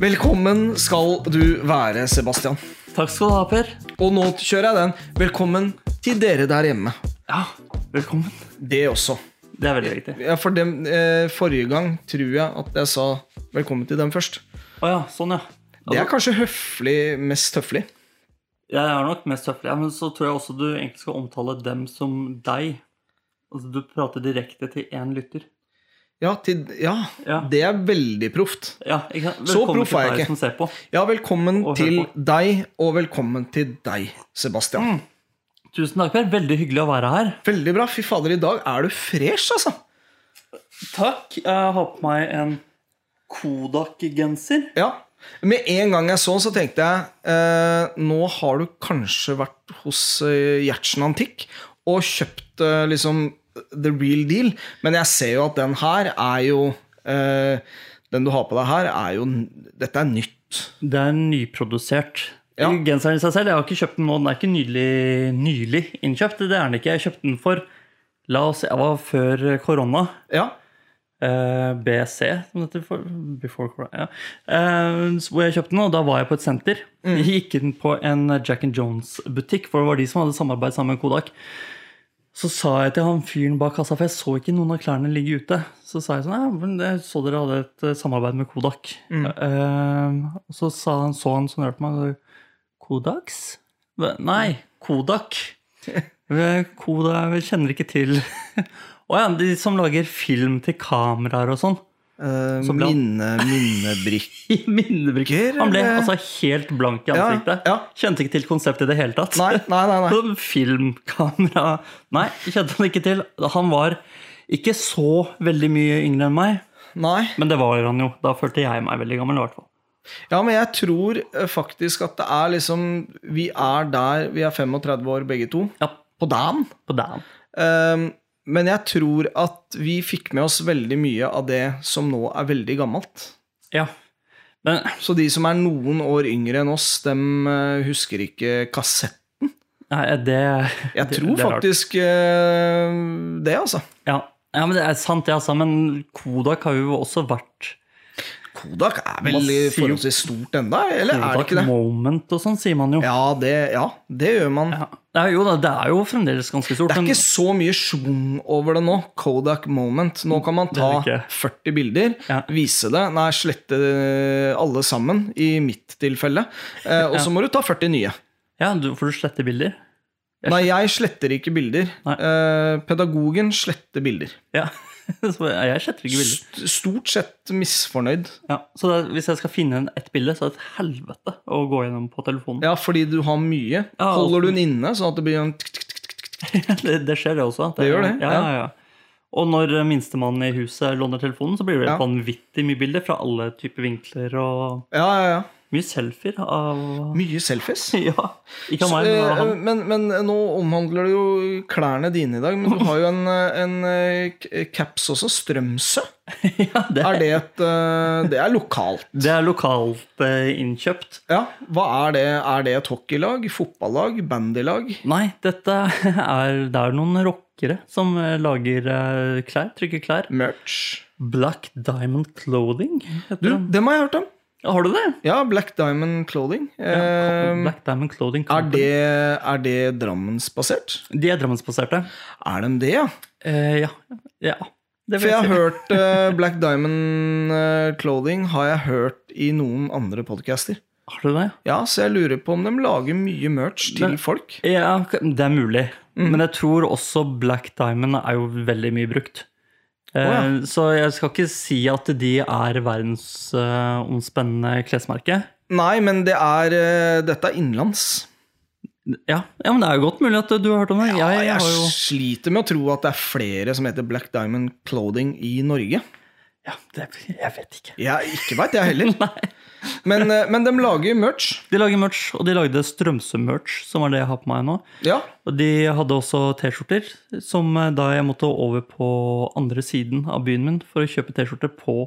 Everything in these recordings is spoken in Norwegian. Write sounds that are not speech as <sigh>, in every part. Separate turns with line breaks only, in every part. Velkommen skal du være, Sebastian.
Takk skal du ha, Per.
Og nå kjører jeg den. Velkommen til dere der hjemme.
Ja, velkommen.
Det også.
Det er veldig riktig.
Ja, for dem, eh, forrige gang tror jeg at jeg sa velkommen til dem først.
Å ja, sånn, ja.
Det er
Altså,
kanskje høflig, mest høflig.
jeg er nok mest høflig, ja, men så tror jeg også du egentlig skal omtale dem som deg. Altså, du prater direkte til én lytter.
Ja, til, ja,
Ja.
det er veldig proft.
Ja, ikke sant?
Så
Velkommen
proff er jeg
til
ikke.
deg som ser på.
Ja, velkommen
Og hør
til
på. Mm.
deg, og velkommen til deg, Sebastian.
Tusen takk, Per. Veldig hyggelig å være her.
Veldig bra. Fy fader, i dag er du fresh, altså.
Takk. Jeg har på meg en Kodak-genser.
Ja. Med en gang jeg så, så tenkte jeg eh, Nå har du kanskje vært hos eh, Gjertsen Antikk og kjøpt eh, liksom the real deal, men jeg ser jo at den her er jo eh, Den du har på deg her, er jo Dette er nytt.
Det er nyprodusert.
Ja.
Genseren i seg selv, jeg har ikke kjøpt den nå. Den er ikke nylig, nylig innkjøpt. Det er den ikke. Jeg kjøpte den for La oss se, jeg var før korona.
Ja.
Eh, BC, som det heter. For, before corona, ja. Eh, så hvor jeg kjøpte den, og da var jeg på et senter. Jeg gikk inn på en Jack and Jones-butikk, for det var de som hadde samarbeid sammen med Kodak. Så sa jeg til han fyren bak kassa, for jeg så ikke noen av klærne ligge ute. Så sa jeg sånn, ja, men jeg så dere hadde et eh, samarbeid med Kodak. Eh, og så sa han, så han sånn rart på meg, Kodaks? Nei, Kodak. Eh, Kodak, jeg kjenner ikke til. <laughs> Å ja, de som lager film til kameraer og sånn. <laughs>
Eh,
Så bra.
minne, minnebrikk
I minnebrikker. Han ble
eller?
altså helt blank i
Ja,
ansiktet.
ja.
Kjente ikke til konseptet i det hele tatt.
<laughs> Nei, nei, nei.
<laughs>
nei.
Sånn Filmkamera Nei, kjente han ikke til. Han var ikke så veldig mye yngre enn meg,
nei.
men det var han jo. Da følte jeg meg veldig gammel, i hvert fall.
Ja, men jeg tror eh, faktisk at det er liksom Vi er der Vi er 35 år begge to.
Ja,
På dagen.
på damn.
Um, men jeg tror at vi fikk med oss veldig mye av det som nå er veldig gammelt.
Ja. Men
Så de som er noen år yngre enn oss, dem eh, husker ikke kassett.
nei, det
Jeg
det-
tror
det er rart.
faktisk eh, det, altså.
ja. ja, men det er sant, det, altså. Men Kodak har jo også vært
Kodak er vel
Massiv-
forholdsvis stort enda, eller er det
Kodak
ikke det?
Moment og sånn, sier man jo.
Ja, det, ja, det gjør man.
Ja. Ja, jo da, det er jo fremdeles ganske stort.
Det er
men-
ikke så mye schwung over det nå. Kodak moment. Nå kan man ta
Det er det
40 bilder,
Ja.
vise det, nei, slette eh, alle sammen, i mitt tilfelle, eh, og så må du ta 40 nye.
Ja, du, for du sletter bilder?
Nei, jeg sletter ikke bilder.
Nei.
Eh, pedagogen sletter bilder.
Ja. <laughs> Så jeg jeg sletter ikke bilder.
St- Stort sett misfornøyd.
Ja. Så det, er- hvis jeg skal finne en- ett bilde, så er det et helvete å gå gjennom på telefonen.
Ja, fordi du har mye.
Ja, og-
Holder du den inne, sånn at det blir en tikk, tikk, tikk, tikk, tikk.
<laughs> det, det skjer, det også. at
Det gjør det,
Ja, ja, ja. Og når minstemannen i huset låner telefonen, så blir det
Ja.
helt vanvittig mye bilder fra alle typer vinkler og
Ja, ja, ja.
mye selfier av <laughs>
Mye selfies.
Ja. Ikke av meg, men av
Eh,
han.
Men, men nå omhandler det jo klærne dine i dag, men
<laughs>
du har jo en, eh, en eh, k- caps også. Strømsø.
<laughs> Ja, det,
Er det et eh, Det er lokalt.
det er lokalt eh, innkjøpt.
Ja, hva er det? Er det et hockeylag? Fotballag? Bandylag?
Nei, dette er, det er noen rockere som eh, lager eh, klær, trykker klær.
Merch?
Black Diamond Clothing heter
Du,
den.
dem har jeg hørt om.
Har du det?
Ja, Black Diamond Clothing. Eh,
Black Diamond
er,
Clothing Company.
det, er det Drammensbasert?
De er drammensbaserte.
Er de det, ja?
Eh, ja. ja. Det
For jeg har
si.
hørt
<laughs>
eh, Black Diamond eh, Clothing har jeg hørt i noen andre podcaster.
Har du det?
Ja, så jeg lurer på om de lager mye merch til
Men-
folk.
Ja, det er mulig.
Mm.
Men jeg tror også Black Diamond er jo veldig mye brukt. Eh,
Å,
Så jeg skal ikke si at de er verdensomspennende klesmerke.
Nei, men det er, eh, dette er innenlands.
Ja. ja, men det er jo godt mulig at du har hørt om det.
Ja,
jeg,
jeg
har jo...
sliter med å tro at det er flere som heter Black Diamond Clothing i Norge.
ja, det, jeg vet ikke.
Jeg ikke veit, jeg
<laughs>
heller. Men, eh, men de lager merch.
De lager merch, og de lagde Strømsø-merch, som er det jeg har på meg nå.
Ja.
Og de hadde også T-skjorter, som eh, da jeg måtte over på andre siden av byen min for å kjøpe T-skjorter på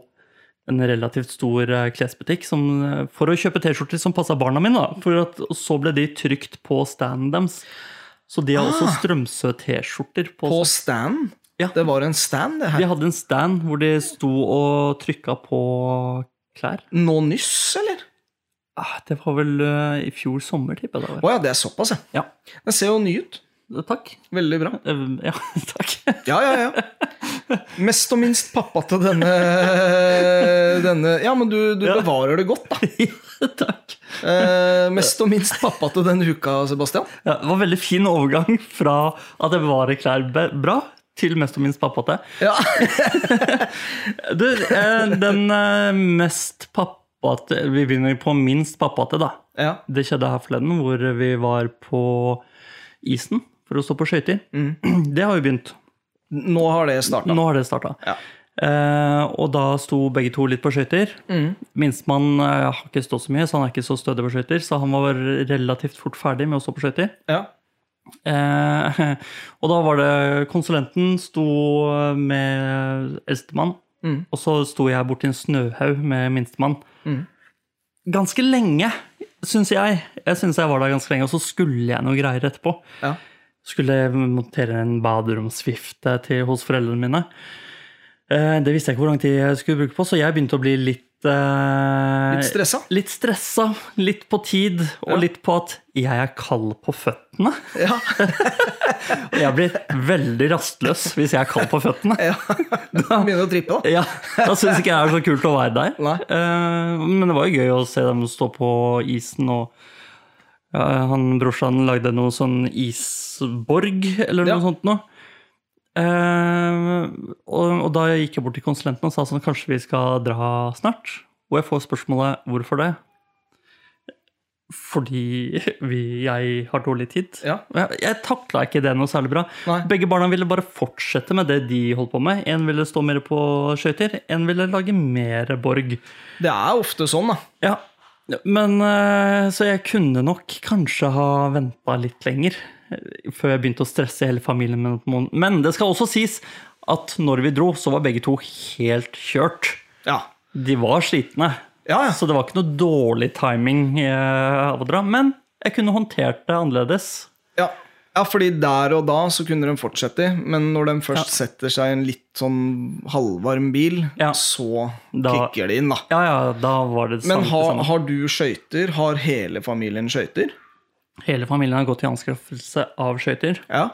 en relativt stor eh, klesbutikk. Som, eh, for å kjøpe T-skjorter som passa barna mine, da. For at, og så ble de trykt på standen deres. Så de har også Strømsø-T-skjorter. på
På stand.
Ja.
Det var en stand, det her.
De hadde en stand hvor de sto og trykka på klær.
Nå nyss, eller?
Ah, det var vel eh, i fjor sommer, tipper jeg det
Å
var.
ja, det er såpass, ja.
Ja.
Den ser jo ny ut.
Takk.
Veldig bra.
Eh, Ja, <laughs> takk.
Ja, ja, ja. Mest og minst pappa til denne, <laughs> denne Ja, men du, du
Ja.
bevarer det godt, da.
takk.
Eh, mest og minst pappa til denne uka, Sebastian.
Ja, det var veldig fin overgang fra at jeg bevarer klær be- bra, til mest og minst pappate.
Ja.
Du, eh, den eh, mest pappate Vi begynner på minst pappate, da.
ja.
Det skjedde her forleden, hvor vi var på isen for å stå på skøyter. <clears throat> Det har jo begynt.
Nå har det starta.
Nå har det starta.
Mm. Ja.
Eh, og da sto begge to litt på skøyter. Minstemann eh, har ikke stått så mye, så han er ikke så stødig på skøyter, så han var relativt fort ferdig med å stå på skøyter.
Ja.
Eh, <laughs> og da var det konsulenten sto med eldstemann,
Mm.
og så sto jeg borti en snøhaug med minstemann. Ganske lenge, syns jeg. Jeg synes jeg var der ganske lenge, Og så skulle jeg noe greier etterpå.
Ja.
Skulle montere en baderomsvifte til, hos foreldrene mine. Eh, det visste jeg ikke hvor lang tid jeg skulle bruke på, så jeg begynte å bli litt eh,
Litt stressa.
Litt stressa, litt på tid, og
Ja.
litt på at jeg er kald på føttene.
Ja.
Og jeg blir veldig rastløs hvis jeg er kald på føttene.
ja. Begynner å trippe, da.
Ja, Da syns ikke jeg det er så kult å være der.
Nei.
Eh, Men det var jo gøy å se dem stå på isen, og ja, han brorsan lagde noe sånn isborg, eller noe
Ja.
sånt noe. Eh, og, og da gikk jeg bort til konsulenten og sa sånn, kanskje vi skal dra snart? Og jeg får spørsmålet, hvorfor det? Fordi vi, jeg har dårlig tid.
Ja.
Jeg, jeg takla ikke det noe særlig bra.
Nei.
Begge barna ville bare fortsette med det de holdt på med. En ville stå mer på skøyter, en ville lage mer borg.
Det er ofte sånn, da.
Ja, men eh, Så jeg kunne nok kanskje ha venta litt lenger eh, før jeg begynte å stresse hele familien. med noen måned. Men det skal også sies at når vi dro, så var begge to helt kjørt.
Ja.
De var slitne,
Ja, ja.
så det var ikke noe dårlig timing eh, av å dra. Men jeg kunne håndtert det annerledes.
Ja. ja, fordi der og da så kunne de fortsette, men når de først setter seg i en litt sånn halvvarm bil,
Ja.
så
Da-
kicker de inn, da.
Ja, ja, da var det det
Men
samme.
har,
samme.
har du skøyter? Har hele familien skøyter?
Hele familien har gått i anskaffelse av skøyter.
Ja.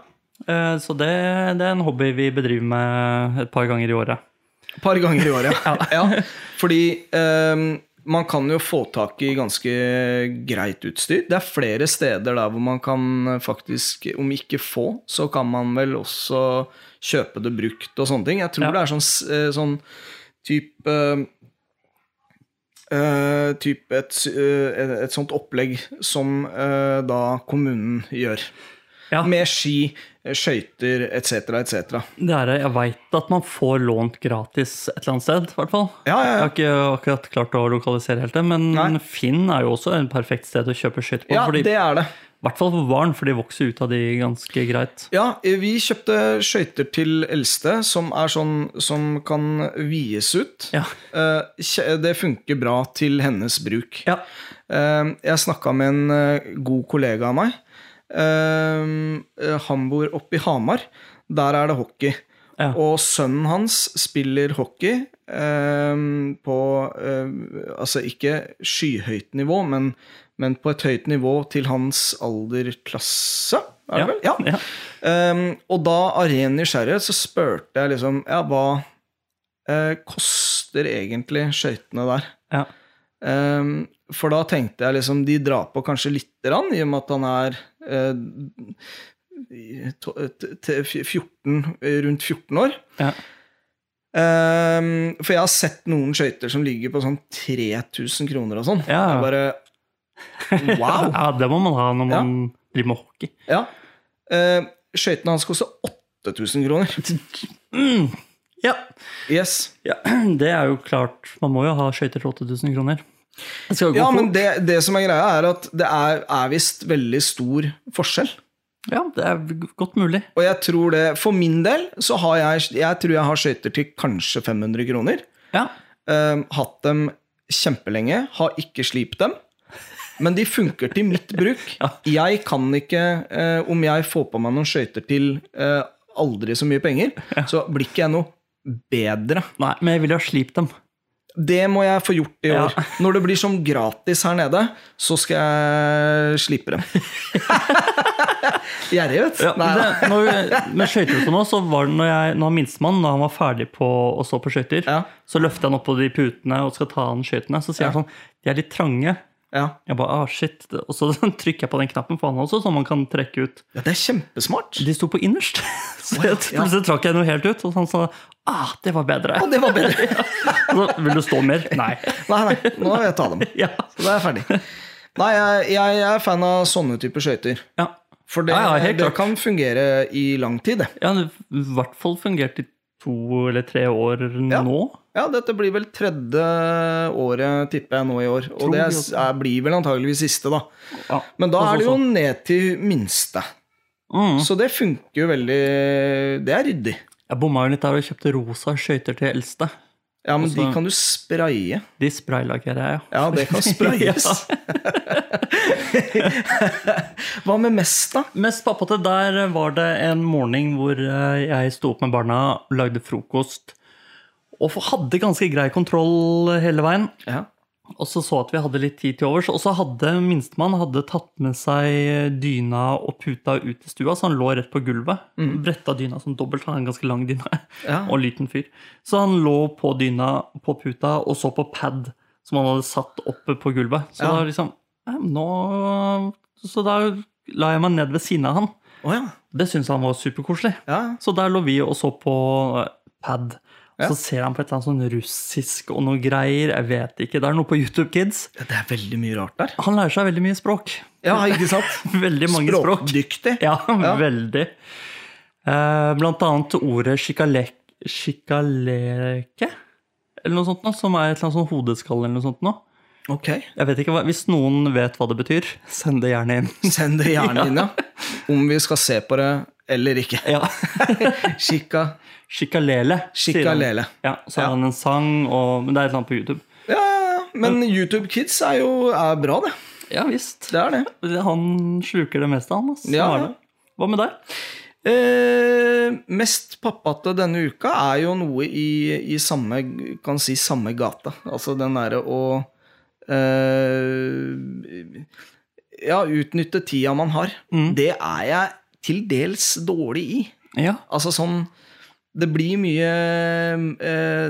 eh, Så det, det er en hobby vi bedriver med et par ganger i året.
Et par ganger i året, ja. ja. Fordi ehm, man kan jo få tak i ganske greit utstyr. Det er flere steder der hvor man kan eh, faktisk, om ikke få, så kan man vel også kjøpe det brukt og sånne ting. Jeg tror
Ja.
det er sånn, s- eh, sånn type eh, typ et, s- eh, et sånt opplegg som eh, da kommunen gjør.
Ja.
Med ski, eh, skøyter etc., etc.
Det er, jeg veit at man får lånt gratis et eller annet sted, i hvert fall.
Ja, ja,
Jeg
ja.
har ikke akkurat klart å lokalisere helt det, men
Nei.
Finn er jo også en perfekt sted å kjøpe skytt på.
Ja,
fordi,
det er det.
I hvert fall for barn, for de vokser ut av de ganske greit.
Ja, eh, vi kjøpte skøyter til eldste, som er sånn som kan vies ut.
Ja.
Eh, kje- Det funker bra til hennes bruk.
Ja.
Eh, Jeg snakka med en eh, god kollega av meg. Eh, eh, Han bor oppe i Hamar. Der er det hockey.
Ja.
Og sønnen hans spiller hockey eh, på eh, Altså ikke skyhøyt nivå, men, men på et høyt nivå til hans alderklasse, er det vel? Ja.
Ja.
Um, og da av ren nysgjerrighet så spurte jeg liksom Ja, hva eh, koster egentlig skøytene der?
Ja.
Um, for da tenkte jeg liksom De drar på kanskje lite grann, i og med at han er eh, i to- t- t- 14, rundt 14 år.
Ja.
Um, for jeg har sett noen skøyter som ligger på sånn 3000 kroner og sånn.
Ja.
Jeg bare Wow!
ja, det må man ha når man driver med hockey.
Ja. Eh, skøytene hans koster 8000 kroner.
Ja.
Yes.
ja, <clears throat> det er jo klart. Man må jo ha skøyter til 8000 kroner. Det skal jo gå
Ja,
fort.
men det, det som er greia, er at det er, er visst veldig stor forskjell.
ja, det er godt mulig.
Og jeg tror det, for min del, så har jeg Jeg tror jeg har skøyter til kanskje 500 kroner.
Ja.
Eh, hatt dem kjempelenge, har ikke slipt dem. Men de funker til mitt bruk. Jeg kan ikke, eh, om jeg får på meg noen skøyter til eh, aldri så mye penger, så blir ikke jeg noe bedre.
Nei, men jeg vil jo ha slipt dem.
Det må jeg få gjort i
Ja.
år. Når det blir som gratis her nede, så skal jeg
<laughs>
slippe dem. Gjerrig, vet du.
Ja,
Nei, da.
det, når, med skøyter og sånn også, så var det når, jeg, når minstemann når han var ferdig på å stå på skøyter,
Ja.
så løfter han opp på de putene og skal ta han skøytene. Så sier
Ja.
han sånn De er litt trange.
Ja.
Jeg bare, ah, shit. Og så <laughs> trykker jeg på den knappen for han også, så man kan trekke ut.
ja, det er kjempesmart.
De sto på innerst, <laughs> så
Å ja,
jeg
ja.
plutselig trakk jeg noe helt ut. Og han sa ah, det var bedre.
Å, det var bedre.
Så, Vil du stå <laughs> mer? Nei.
Nei, nei, nå vil jeg ta dem.
Ja.
Så da er jeg ferdig. Nei, jeg, jeg er fan av sånne typer skøyter.
ja.
For det,
Ja, ja, helt
det
klart.
kan fungere i lang tid, det.
Jeg har i hvert fall fungert i to eller tre år nå.
Ja, dette blir vel tredje året, tipper jeg, nå i år. Og
Tror
det
vi
er,
også.
er, blir vel antageligvis siste, da.
Ja.
Men da
Altså,
er det jo
så-
ned til minste.
Mm.
Så det funker jo veldig Det er ryddig.
Jeg bomma jo litt der og kjøpte rosa skøyter til eldste.
Ja, men de
Altså-
kan du spraye.
De spraylagerer jeg, ja.
Ja, det <laughs> kan
<laughs>
sprayes. Hva med mest, da?
Mest pappate, der var det en morgen hvor eh, jeg sto opp med barna, lagde frokost og f- hadde ganske grei kontroll hele veien.
Ja.
Og så så at vi hadde litt tid til overs. Og så hadde minstemann hadde tatt med seg dyna og puta ut i stua, så han lå rett på gulvet.
Mm.
Bretta dyna som dobbelt, han er en ganske lang dyne.
Ja.
Og liten fyr. Så han lå på dyna, på puta, og så på pad som han hadde satt oppe på gulvet. Så
Ja.
da liksom "Nei, nå, Så da la jeg meg ned ved siden av han.
Å ja.
Det syntes han var superkoselig.
ja.
Så der lå vi og så på eh, pad.
Ja.
Så ser han på et eller annet sånn russisk og noe greier. Jeg vet ikke. Det er noe på YouTube Kids.
Ja, Det er veldig mye rart der.
Han lærer seg veldig mye språk. <laughs>
Ja, ikke <laughs> sant?
Veldig mange språk.
Språkdyktig.
<laughs> Ja,
Ja.
veldig. Eh, blant annet ordet skikalek... Skikaleke? Eller noe sånt noe, som er et eller annet sånn hodeskalle eller noe sånt noe.
Ok.
Jeg vet ikke hva, Hvis noen vet hva det betyr, <laughs> send det gjerne <laughs> inn.
Send det gjerne inn, <laughs> ja. Om vi skal se på det eller <laughs> ikke.
Ja.
Chica,
Skikalele. sier han.
Shikalele.
Ja, så
Ja.
har han en sang, og, men det er et eller annet på YouTube.
Ja, ja, ja. men YouTube Kids er jo er bra, det.
Ja visst.
Det er det.
Han sluker det meste, han. ass.
Ja,
Hva er
ja.
det? Hva med deg?
Eh, mest pappate denne uka er jo noe i, i samme, kan si samme gata. Altså den derre å eh, Ja, utnytte tida man har. Det er jeg til dels dårlig i.
Ja.
Altså sånn Det blir mye eh,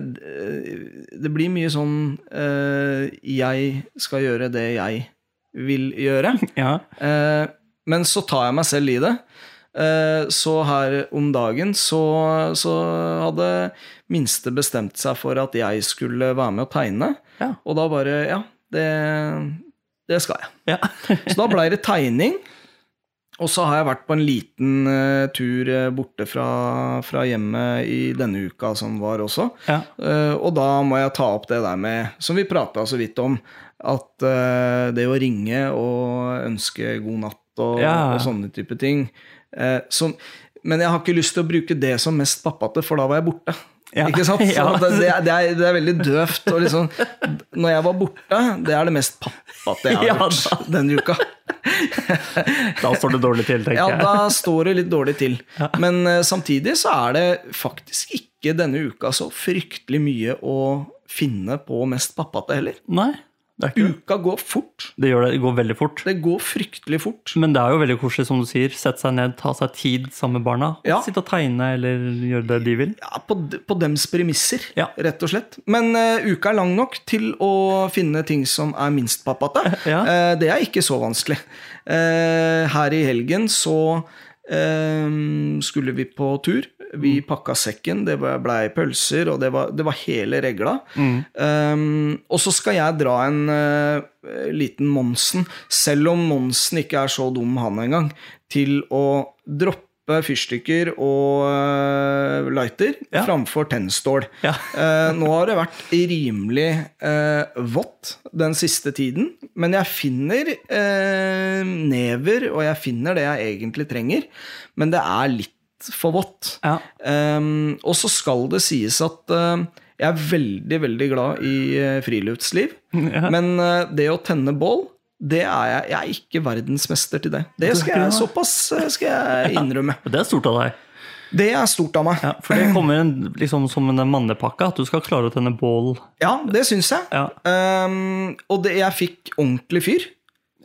Det blir mye sånn eh, Jeg skal gjøre det jeg vil gjøre.
<laughs> ja.
Eh, men så tar jeg meg selv i det. Eh, så her om dagen så, så hadde minste bestemt seg for at jeg skulle være med og tegne.
Ja.
Og da bare Ja, det, det skal jeg.
ja.
Så da blei det tegning. Og så har jeg vært på en liten eh, tur eh, borte fra, fra hjemmet i denne uka som var også.
ja.
Eh, og da må jeg ta opp det der med, som vi prata så vidt om, at eh, det å ringe og ønske god natt og,
Ja.
og sånne type ting eh, som, Men jeg har ikke lyst til å bruke det som mest pappate, for da var jeg borte.
Ja.
Ikke
<laughs>
sant? Så
Ja.
det, det, er, det, er, det er veldig døvt. Og liksom, når jeg var borte, det er det mest pappate jeg har
<laughs> Ja, da.
gjort denne uka.
Da står det dårlig til, tenker
Ja,
jeg.
da står det litt dårlig
<laughs>
til. Men eh, samtidig så er det faktisk ikke denne uka så fryktelig mye å finne på mest pappate heller.
Nei, det er ikke det.
Uka går fort.
Det, gjør det, det går veldig fort.
Det går fryktelig fort.
Men det er jo veldig koselig, som du sier. Sette seg ned, ta seg tid sammen med barna.
Ja.
Sitte og tegne eller gjøre det de vil.
Ja, på, d- på dems premisser,
Ja.
rett og slett. Men eh, uka er lang nok til å finne ting som er minst pappate.
<laughs> Ja.
Eh, det er ikke så vanskelig. Eh, her i helgen så eh, skulle vi på tur. Vi
Mm.
pakka sekken, det ble- blei pølser, og det var, det var hele regla.
Mm.
Eh, og så skal jeg dra en eh, liten Monsen, selv om Monsen ikke er så dum han engang, til å droppe fyrstikker og eh, lighter
Ja.
framfor tennstål.
Ja.
Eh, nå har det vært rimelig eh, vått den siste tiden, men jeg finner eh, never, og jeg finner det jeg egentlig trenger, men det er litt for vått.
Ja.
Ehm, og så skal det sies at eh, jeg er veldig, veldig glad i eh, friluftsliv,
<laughs> Ja.
men eh, det å tenne bål det er jeg. Jeg er ikke verdensmester til det. Det
Du er
skal
ikke
jeg,
det, nei.
såpass eh, skal jeg innrømme.
Og det er stort av deg.
Det er stort av meg.
Ja, for det kommer en, liksom som en mannepakka, at du skal klare å tenne bål.
Ja, det syns jeg.
Ja.
Ehm, og det, jeg fikk ordentlig fyr,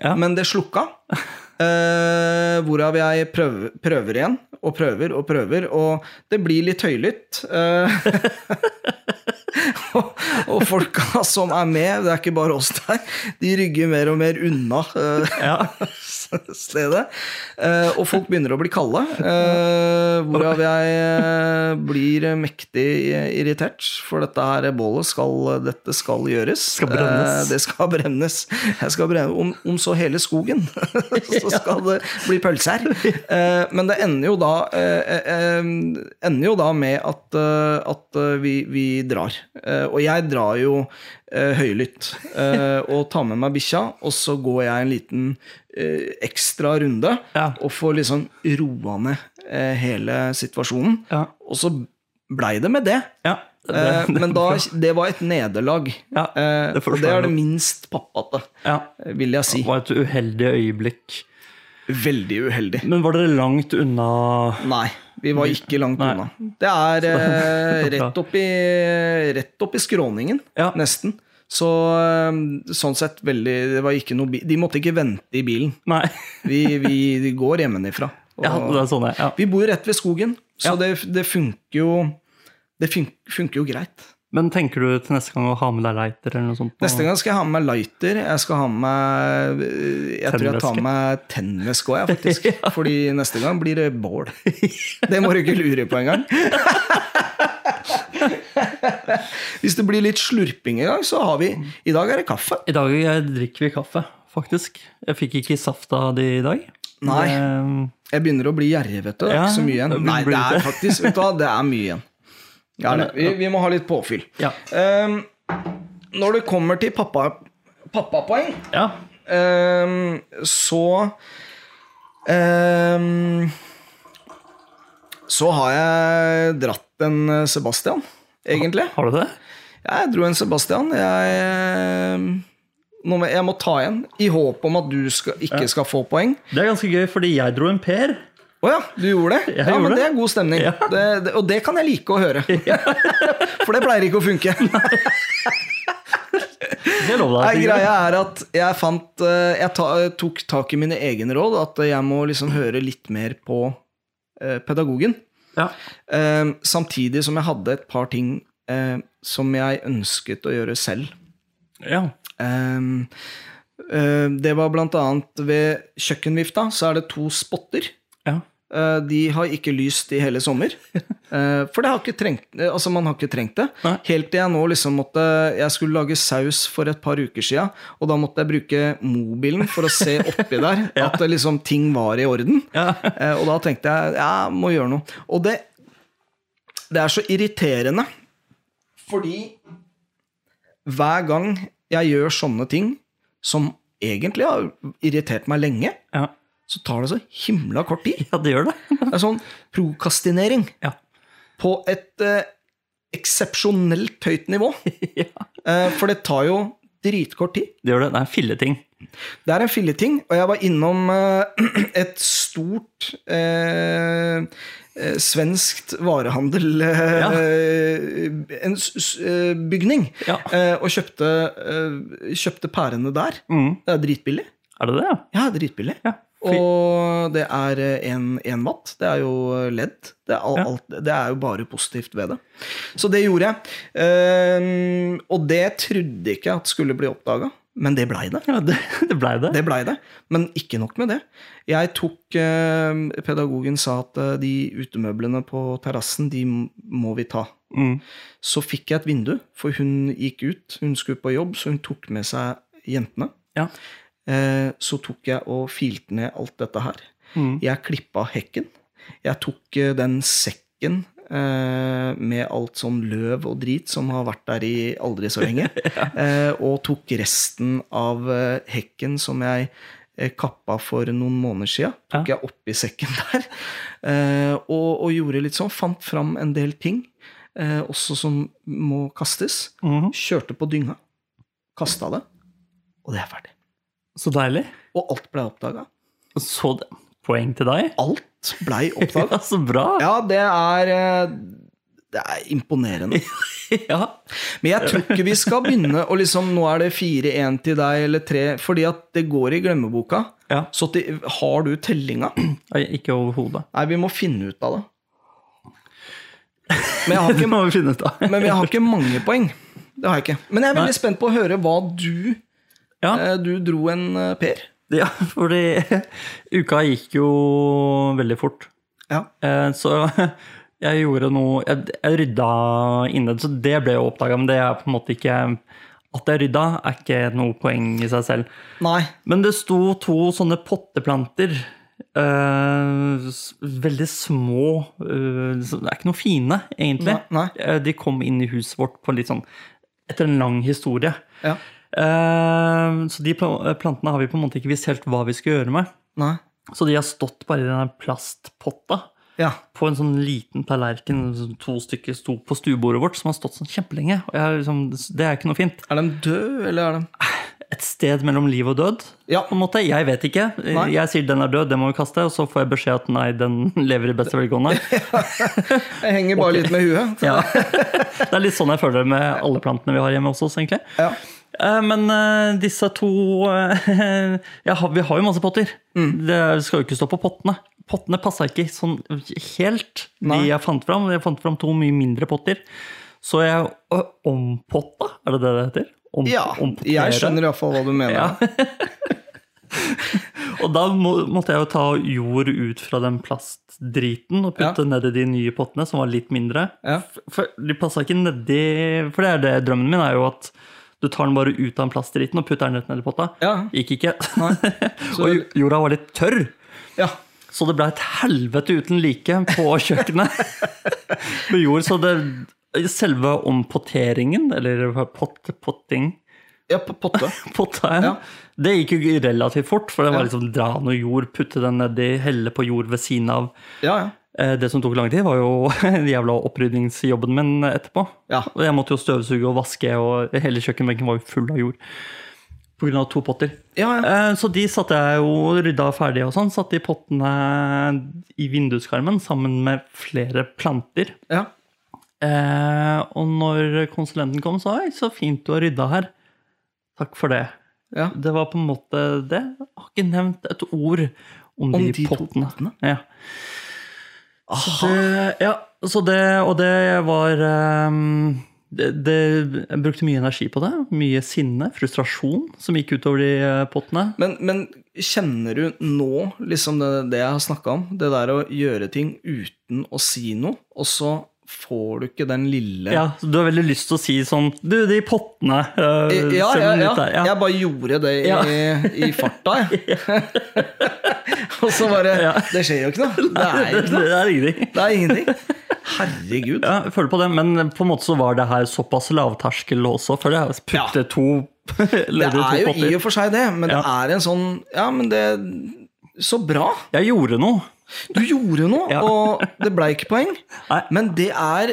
Ja.
men det slukka. Eh, hvorav jeg prøver, prøver igjen, og prøver og prøver, og det blir litt høylytt. eh. <laughs> og, og folka som er med, det er ikke bare oss der, de rygger mer og mer unna eh,
Ja.
stedet. Eh, og folk begynner å bli kalde, eh, hvorav jeg eh, blir mektig irritert, for dette her bålet skal, dette skal gjøres.
Skal brennes.
Eh, det skal brennes. Jeg skal brenne, om, om så hele skogen, <laughs> så skal det bli pølser. Eh, men det ender jo da, eh, eh, ender jo da med at, eh, at eh, vi, vi drar. Eh, og jeg drar jo eh, høylytt eh, og tar med meg bikkja, og så går jeg en liten eh, ekstra runde
Ja.
og får liksom roa ned eh, hele situasjonen.
Ja.
Og så blei det med det.
ja.
Eh, men da, det var et nederlag.
Ja,
Eh,
det
og det
forstår
er
jeg.
det minst pappate,
<laughs> ja.
vil jeg si.
Det var et uheldig øyeblikk.
Veldig uheldig.
Men var dere langt unna
Nei, vi var ikke langt
Nei.
unna. Det er eh,
<laughs>
rett, opp i, rett opp i skråningen,
Ja.
nesten. Så eh, sånn sett veldig Det var ikke noe bi De måtte ikke vente i bilen.
Nei. <laughs>
Vi, vi, vi <laughs> går hjemmefra. Og-
Ja, det er sånn det er. Ja.
Vi bor jo rett ved skogen, så
Ja.
det, det funker jo Det fun funker jo greit.
Men tenker du til neste gang å ha med deg lighter eller noe sånt? på-
Neste gang skal jeg ha med meg lighter. Jeg skal ha med meg eh, Jeg tror jeg tar med meg tennvæske òg, faktisk. <laughs> Fordi neste gang blir det bål. Det må du ikke lure på <laughs> engang. Hvis det blir litt slurping i dag, så har vi I dag er det kaffe.
I dag eh, drikker vi kaffe, faktisk. Jeg fikk ikke saft av de i dag. Ehm,
Nei.
Det-
Jeg begynner å bli gjerrig, vet du. Det er ikke så mye igjen. Nei, det er faktisk Vet du hva, det er mye igjen. Ja, det- vi, vi må ha litt påfyll.
Ja.
Ehm, når det kommer til pappa- pappapoeng
ja.
Ehm, så ehm, Så har jeg dratt en eh, Sebastian, egentlig.
Har du det?
Jeg dro en Sebastian. Jeg, ehm, nå må, jeg må ta en, i håp om at du skal, ikke skal få poeng.
Det er ganske gøy, fordi jeg dro en Per.
Å ja, du gjorde det?
Jeg
ja, men
gjorde
det er god stemning.
Ja.
Det, det, og det kan jeg like å høre. <laughs> For det pleier ikke å funke.
<laughs> Det lover
Nei,
jeg deg.
greia er at jeg fant eh, Jeg ta, tok tak i mine egne råd, at jeg må liksom høre litt mer på eh, pedagogen.
Ja.
Eh, Samtidig som jeg hadde et par ting eh, som jeg ønsket å gjøre selv.
ja.
Eh, eh, Det var blant annet ved kjøkkenvifta, så er det to spotter.
ja.
Eh, De har ikke lyst i hele
<laughs>
sommer. Eh, For det har ikke trengt, eh, altså man har ikke trengt det.
Nei.
Helt til jeg nå liksom måtte Jeg skulle lage saus for et par uker sia, og da måtte jeg bruke mobilen for å se
<laughs>
oppi der at det liksom ting var i orden.
Ja.
Eh, Og da tenkte jeg jeg må gjøre noe. Og det, det er så irriterende, fordi hver gang jeg gjør sånne ting, som egentlig har irritert meg lenge,
Ja.
så tar det så himla kort tid.
ja, det <laughs> gjør det.
Det er sånn prokastinering
Ja.
på et eh, eksepsjonelt høyt nivå.
ja.
Eh, for det tar jo dritkort tid.
Det gjør det. Det er filleting.
Det er en filleting, og jeg var innom eh, <clears throat> et stort eh, eh, svenskt varehandel eh,
Ja.
eh, en s- s- eh, bygning,
Ja.
eh, og kjøpte, eh, kjøpte pærene der.
Mm.
Det er dritbillig.
Er det det, ja?
Ja, dritbillig.
Ja. Fy-
Og det er eh, én watt. Det er jo eh, ledd. Det er, al-
Ja.
alt, det er jo bare positivt ved det. Så det gjorde jeg. Ehm, og det trodde ikke jeg at skulle bli oppdaga, men det blei det.
Ja, det, det blei det.
Det blei det. Men ikke nok med det. Jeg tok ehm, Pedagogen sa at eh, de utemøblene på terrassen, de må vi ta.
Mm.
Så fikk jeg et vindu, for hun gikk ut. Hun skulle på jobb, så hun tok med seg jentene.
Ja.
Eh, så tok jeg og filte ned alt dette her.
Mm.
Jeg klippa hekken. Jeg tok eh, den sekken eh, med alt sånn løv og drit som har vært der i aldri så lenge, eh, og tok resten av eh, hekken som jeg eh, kappa for noen måneder sia. Tok jeg oppi sekken <laughs> der eh, og, og gjorde litt sånn. Fant fram en del ting, eh, også som må kastes.
Mhm.
Kjørte på dynga, kasta det, og det er ferdig.
Så deilig.
Og alt ble oppdaga.
Så det. poeng til deg.
Alt blei oppdaga.
<laughs> Ja, så bra!
Ja, det er eh, Det er imponerende.
Ja.
Men jeg tror ikke vi skal begynne å liksom Nå er det 4-1 til deg, eller 3 Fordi at det går i glemmeboka.
Ja.
Så til, har du tellinga?
Nei, Ikke overhodet.
Nei, vi må finne ut av det. Men jeg har
<laughs> Det
ikke,
må vi finne ut av.
men jeg har ikke mange poeng. Det har jeg ikke. Men jeg er
Nei.
veldig spent på å høre hva du
Ja.
eh, Du dro en eh, Per.
Ja, fordi uka gikk jo veldig fort.
Ja.
Eh, Så jeg gjorde noe Jeg, jeg rydda innad, så det ble jo oppdaga. Men det er på en måte ikke At jeg rydda, er ikke noe poeng i seg selv.
Nei.
Men det sto to sånne potteplanter. eh, s- veldig små eh, så Det er ikke noe fine, egentlig.
Nei, nei.
Eh, de kom inn i huset vårt på litt sånn, etter en lang historie.
Ja.
Eh, så de pla- plantene har vi på en måte ikke visst helt hva vi skal gjøre med.
Nei.
Så de har stått bare i denne plastpotta
Ja.
på en sånn liten tallerken. sånn To stykker sto på stuebordet vårt, som har stått sånn kjempelenge. Og jeg har liksom, det er ikke noe fint.
Er den død, eller er den
Et sted mellom liv og død.
Ja.
på en måte. Jeg vet ikke.
Nei.
Jeg sier den er død, den må vi kaste. Og så får jeg beskjed at nei, den <laughs> lever i beste
<laughs>
velgående.
Jeg henger bare litt med huet.
Ja. <laughs> Det er litt sånn jeg føler det med alle plantene vi har hjemme hos oss, egentlig.
Ja.
Eh, Men eh, disse to eh, <laughs> ja, ha- Vi har jo masse potter.
Mm.
Det skal jo ikke stå på pottene. Pottene passa ikke sånn helt, de
Nei.
jeg fant fram. Jeg fant fram to mye mindre potter. Så jeg ø, ompotta, er det det det heter? Om,
ja.
ompottere.
Jeg skjønner iallfall hva du mener.
Ja. og da må, måtte jeg jo ta jord ut fra den plastdriten og putte nedi de nye pottene, som var litt mindre.
Ja.
F- For de passa ikke nedi For det er det drømmen min er jo at du tar den bare ut av den plastdriten og putter den rett nedi potta.
Ja.
Gikk ikke. <laughs>
Så-
og jo- jorda var litt tørr.
Ja.
Så det ble et helvete uten like
<laughs>
på kjøkkenet. <laughs> Med jord, så det, selve ompoteringen, eller pott, potting,
ja, på potte.
potta igjen.
Ja.
Det gikk jo relativt fort, for det var
Ja.
liksom dra noe jord, putte den nedi, helle på jord ved siden av.
Ja, ja.
Eh, Det som tok lang tid, var jo <laughs> den jævla opprydningsjobben min etterpå.
Ja.
Og Jeg måtte jo støvsuge og vaske, og hele kjøkkenbenken var jo full av jord. På grunn av to potter.
ja, ja.
Eh, Så de satte jeg jo og rydda ferdig og sånn. Satte de pottene i vinduskarmen sammen med flere planter.
ja.
Eh, og når konsulenten kom, sa jeg så fint du har rydda her. Takk for det.
Ja.
Det var på en måte det. Jeg har ikke nevnt et ord om,
Om
de,
de to
pottene.
pottene?
Ja. Så det, ja, så det, og det var ehm, det, det, Jeg brukte mye energi på det. Mye sinne, frustrasjon, som gikk utover de eh, pottene.
Men, men kjenner du nå liksom det, det jeg har snakka om, det der å gjøre ting uten å si noe, og så får du ikke den lille
Ja, så Du har veldig lyst til å si sånn Du, de pottene øh,
ja, ja,
ser
ja,
den ut der, ja.
Jeg bare gjorde det i,
Ja.
i farta,
<laughs>
jeg. <laughs> og så bare
Ja.
Det skjer jo ikke noe.
<laughs>
Det er jo
det,
ikke noe.
det er ingenting.
Det er ingenting. Herregud.
Ja, jeg føler på det, men på en måte så var det her såpass lavterskel også, for jeg putte to <laughs>
Det
eller to
er jo i
potter.
og for seg det, men det
Ja.
er en sånn Ja, men det Så bra!
Jeg gjorde noe.
Du gjorde noe,
Ja.
og det ble ikke poeng.
Nei.
Men det er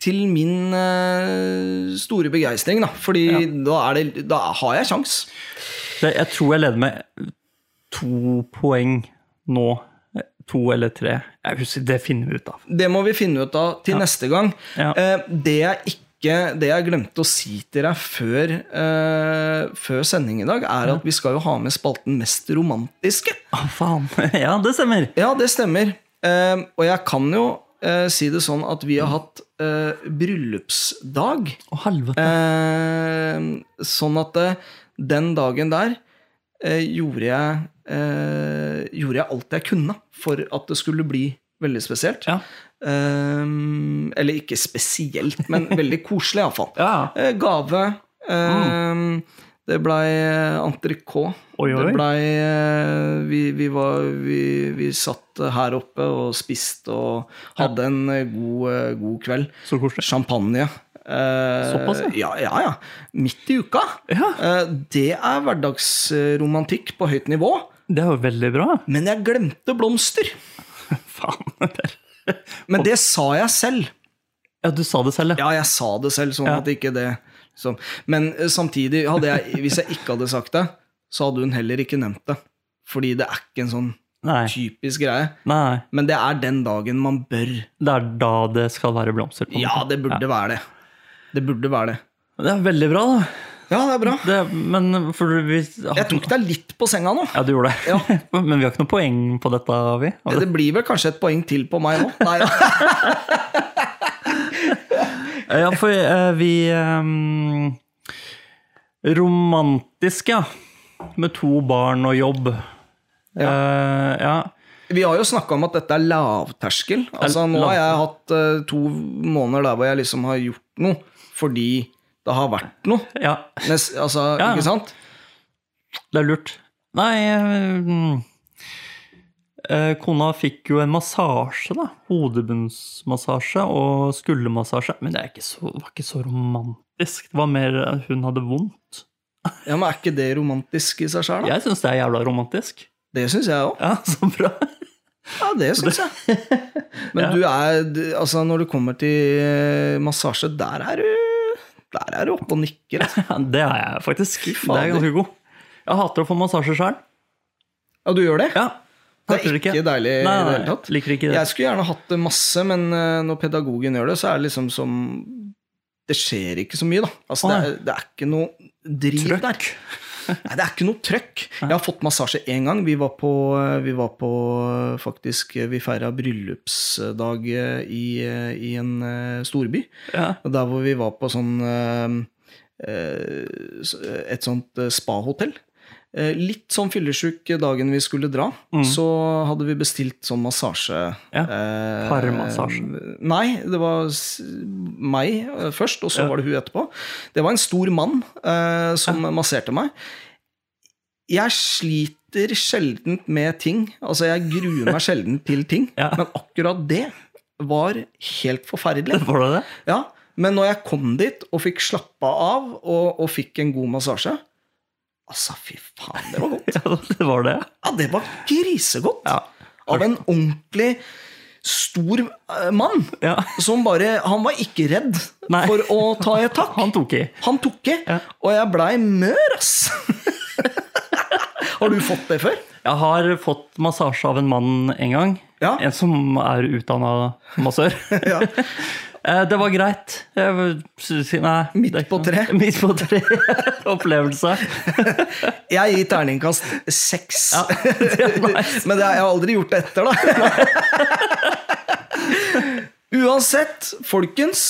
til min eh, store begeistring, da. Fordi da, er det, da har jeg sjans.
Det, jeg tror jeg leder med to poeng nå. To eller tre. Jeg husker, Det finner vi ut av.
Det må vi finne ut av til neste gang.
Ja.
Eh, det jeg ikke det jeg glemte å si til deg før, eh, før sending i dag, er at vi skal jo ha med spalten Mest romantiske.
Å, faen. <laughs> Ja, det stemmer.
Ja, det stemmer. Eh, og jeg kan jo eh, si det sånn at vi har hatt eh, bryllupsdag.
Å, helvete.
Eh, sånn at eh, den dagen der eh, gjorde, jeg, eh, gjorde jeg alt jeg kunne for at det skulle bli veldig spesielt.
Ja.
Eh, eller ikke spesielt, men veldig koselig iallfall.
ja.
Eh, gave.
Mm.
Eh, Det blei entrecôte.
Oi, oi.
Det blei eh, vi, vi, var- vi, vi satt her oppe og spiste og hadde en eh, god, eh, god kveld.
Så koselig.
Champagne. Eh,
Såpass,
ja.
ja.
Ja, ja. Midt i uka.
Ja.
Eh, det er hverdagsromantikk på høyt nivå.
Det var veldig bra.
Men jeg glemte blomster.
Faen. <laughs> Per.
Men det sa jeg selv.
Ja, du sa det selv, ja.
Ja, jeg sa det selv, sånn
Ja.
at ikke det sånn. liksom. Men eh, samtidig, hadde jeg, hvis jeg ikke hadde sagt det, så hadde hun heller ikke nevnt det. Fordi det er ikke en sånn
Nei.
typisk greie.
Nei.
Men det er den dagen man bør
Det er da det skal være blomster. på en
Ja,
måte.
det burde være det. Det burde være det.
Det er veldig bra, da.
Ja, det er bra.
Det, men for vi
Jeg tok deg litt på senga nå.
Ja, du gjorde det.
Ja.
<laughs> men vi har ikke noe poeng på dette, har vi?
Det blir vel kanskje et poeng til på meg nå. Nei, ja.
Ja, for eh, vi ehm, Romantiske, ja. Med to barn og jobb. Ja. ja.
Vi har jo snakka om at dette er lavterskel. Altså, nå har jeg hatt eh, to måneder der hvor jeg liksom har gjort noe fordi det har vært noe.
ja.
Nes, altså,
Ja.
ikke sant?
Det er lurt. Nei ehm, eh, Kona fikk jo en massasje, da. Hodebunnsmassasje og skuldermassasje. Men det er ikke så, var ikke så romantisk. Det var mer at hun hadde vondt.
Ja, men Er ikke det romantisk i seg sjøl?
Jeg syns det er jævla romantisk.
Det syns jeg òg.
Ja, <laughs> så bra.
Ja, det syns
<laughs>
jeg. Men du er du- Altså, når du kommer til eh, massasje, der er du Der er du oppe og nikker. Altså.
Ja, Det er jeg faktisk. Det
fader.
er ganske god. Jeg hater å få massasje sjøl.
Ja, du gjør det?
Ja.
Det
Hater
er ikke deilig i
Nei,
det
nei,
hele tatt.
Liker ikke det.
Jeg skulle gjerne hatt det masse, men eh, når pedagogen gjør det, så er det liksom som Det skjer ikke så mye, da. Altså, det, er, det er ikke noe driv der. Nei, det er ikke noe trøkk. Jeg har fått massasje én gang. Vi var på, vi var på eh, faktisk eh, Vi feira bryllupsdag eh, i, eh, i en eh, storby.
Ja.
Og Der hvor vi var på sånn eh, eh, s- Et sånt eh, spahotell. Eh, Litt sånn fyllesyk dagen vi skulle dra, så hadde vi bestilt sånn massasje.
Mm. Ja,
eh,
parmassasje.
Nei, det var s- meg eh, først, og så var det hun etterpå. Det var en stor mann eh, som masserte meg. Jeg sliter sjelden med ting. Altså, jeg gruer meg sjelden til ting.
Ja.
Men akkurat det var helt forferdelig.
Var <laughs> det det?
Ja, men når jeg kom dit og fikk slappa av og, og fikk en god massasje Altså, fy faen, det var godt.
Ja, det var det.
Ja, det var grisegodt.
Ja.
Av en ordentlig stor eh, mann
ja.
som bare Han var ikke redd
Nei.
for å ta et tak.
Han tok i.
Han tok i,
Ja.
og jeg blei mør,
<laughs>
ass. Har du fått det før?
Jeg har fått massasje av en mann en gang.
Ja.
En som er utdanna
<laughs>
massør.
Ja.
Eh, Det var greit. Jeg vil si- Nei,
Midt
det er
på
ikke-
tre.
<laughs> Midt på tre opplevelse.
Jeg gir terningkast seks.
Ja, det er nice.
Men det, jeg har aldri gjort det etter, da. <laughs> Uansett, folkens,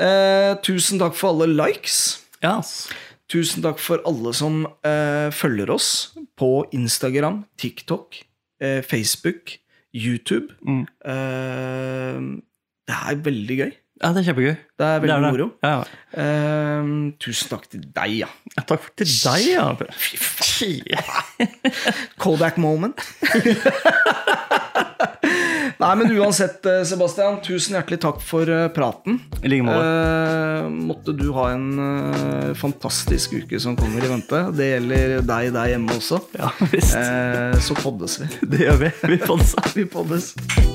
eh, tusen takk for alle likes.
<laughs> Ja, ass.
Tusen takk for alle som eh, følger oss på Instagram, TikTok, eh, Facebook, YouTube.
Mm.
Eh, det er veldig gøy.
ja, det er kjempegøy.
Det er veldig
det.
moro.
Ja. ja.
Eh, tusen takk til deg, ja.
Ja, Takk til deg, ja.
Fy faen. Kodak moment. Nei, men uansett, eh, Sebastian, tusen hjertelig takk for eh, praten.
I like måte.
Eh, måtte du ha en eh, fantastisk uke som kommer i vente. Det gjelder deg der hjemme også.
Ja <laughs> visst.
Eh, så poddes vi.
Det gjør vi. Vi får det.
Eh. <laughs> Vi poddes.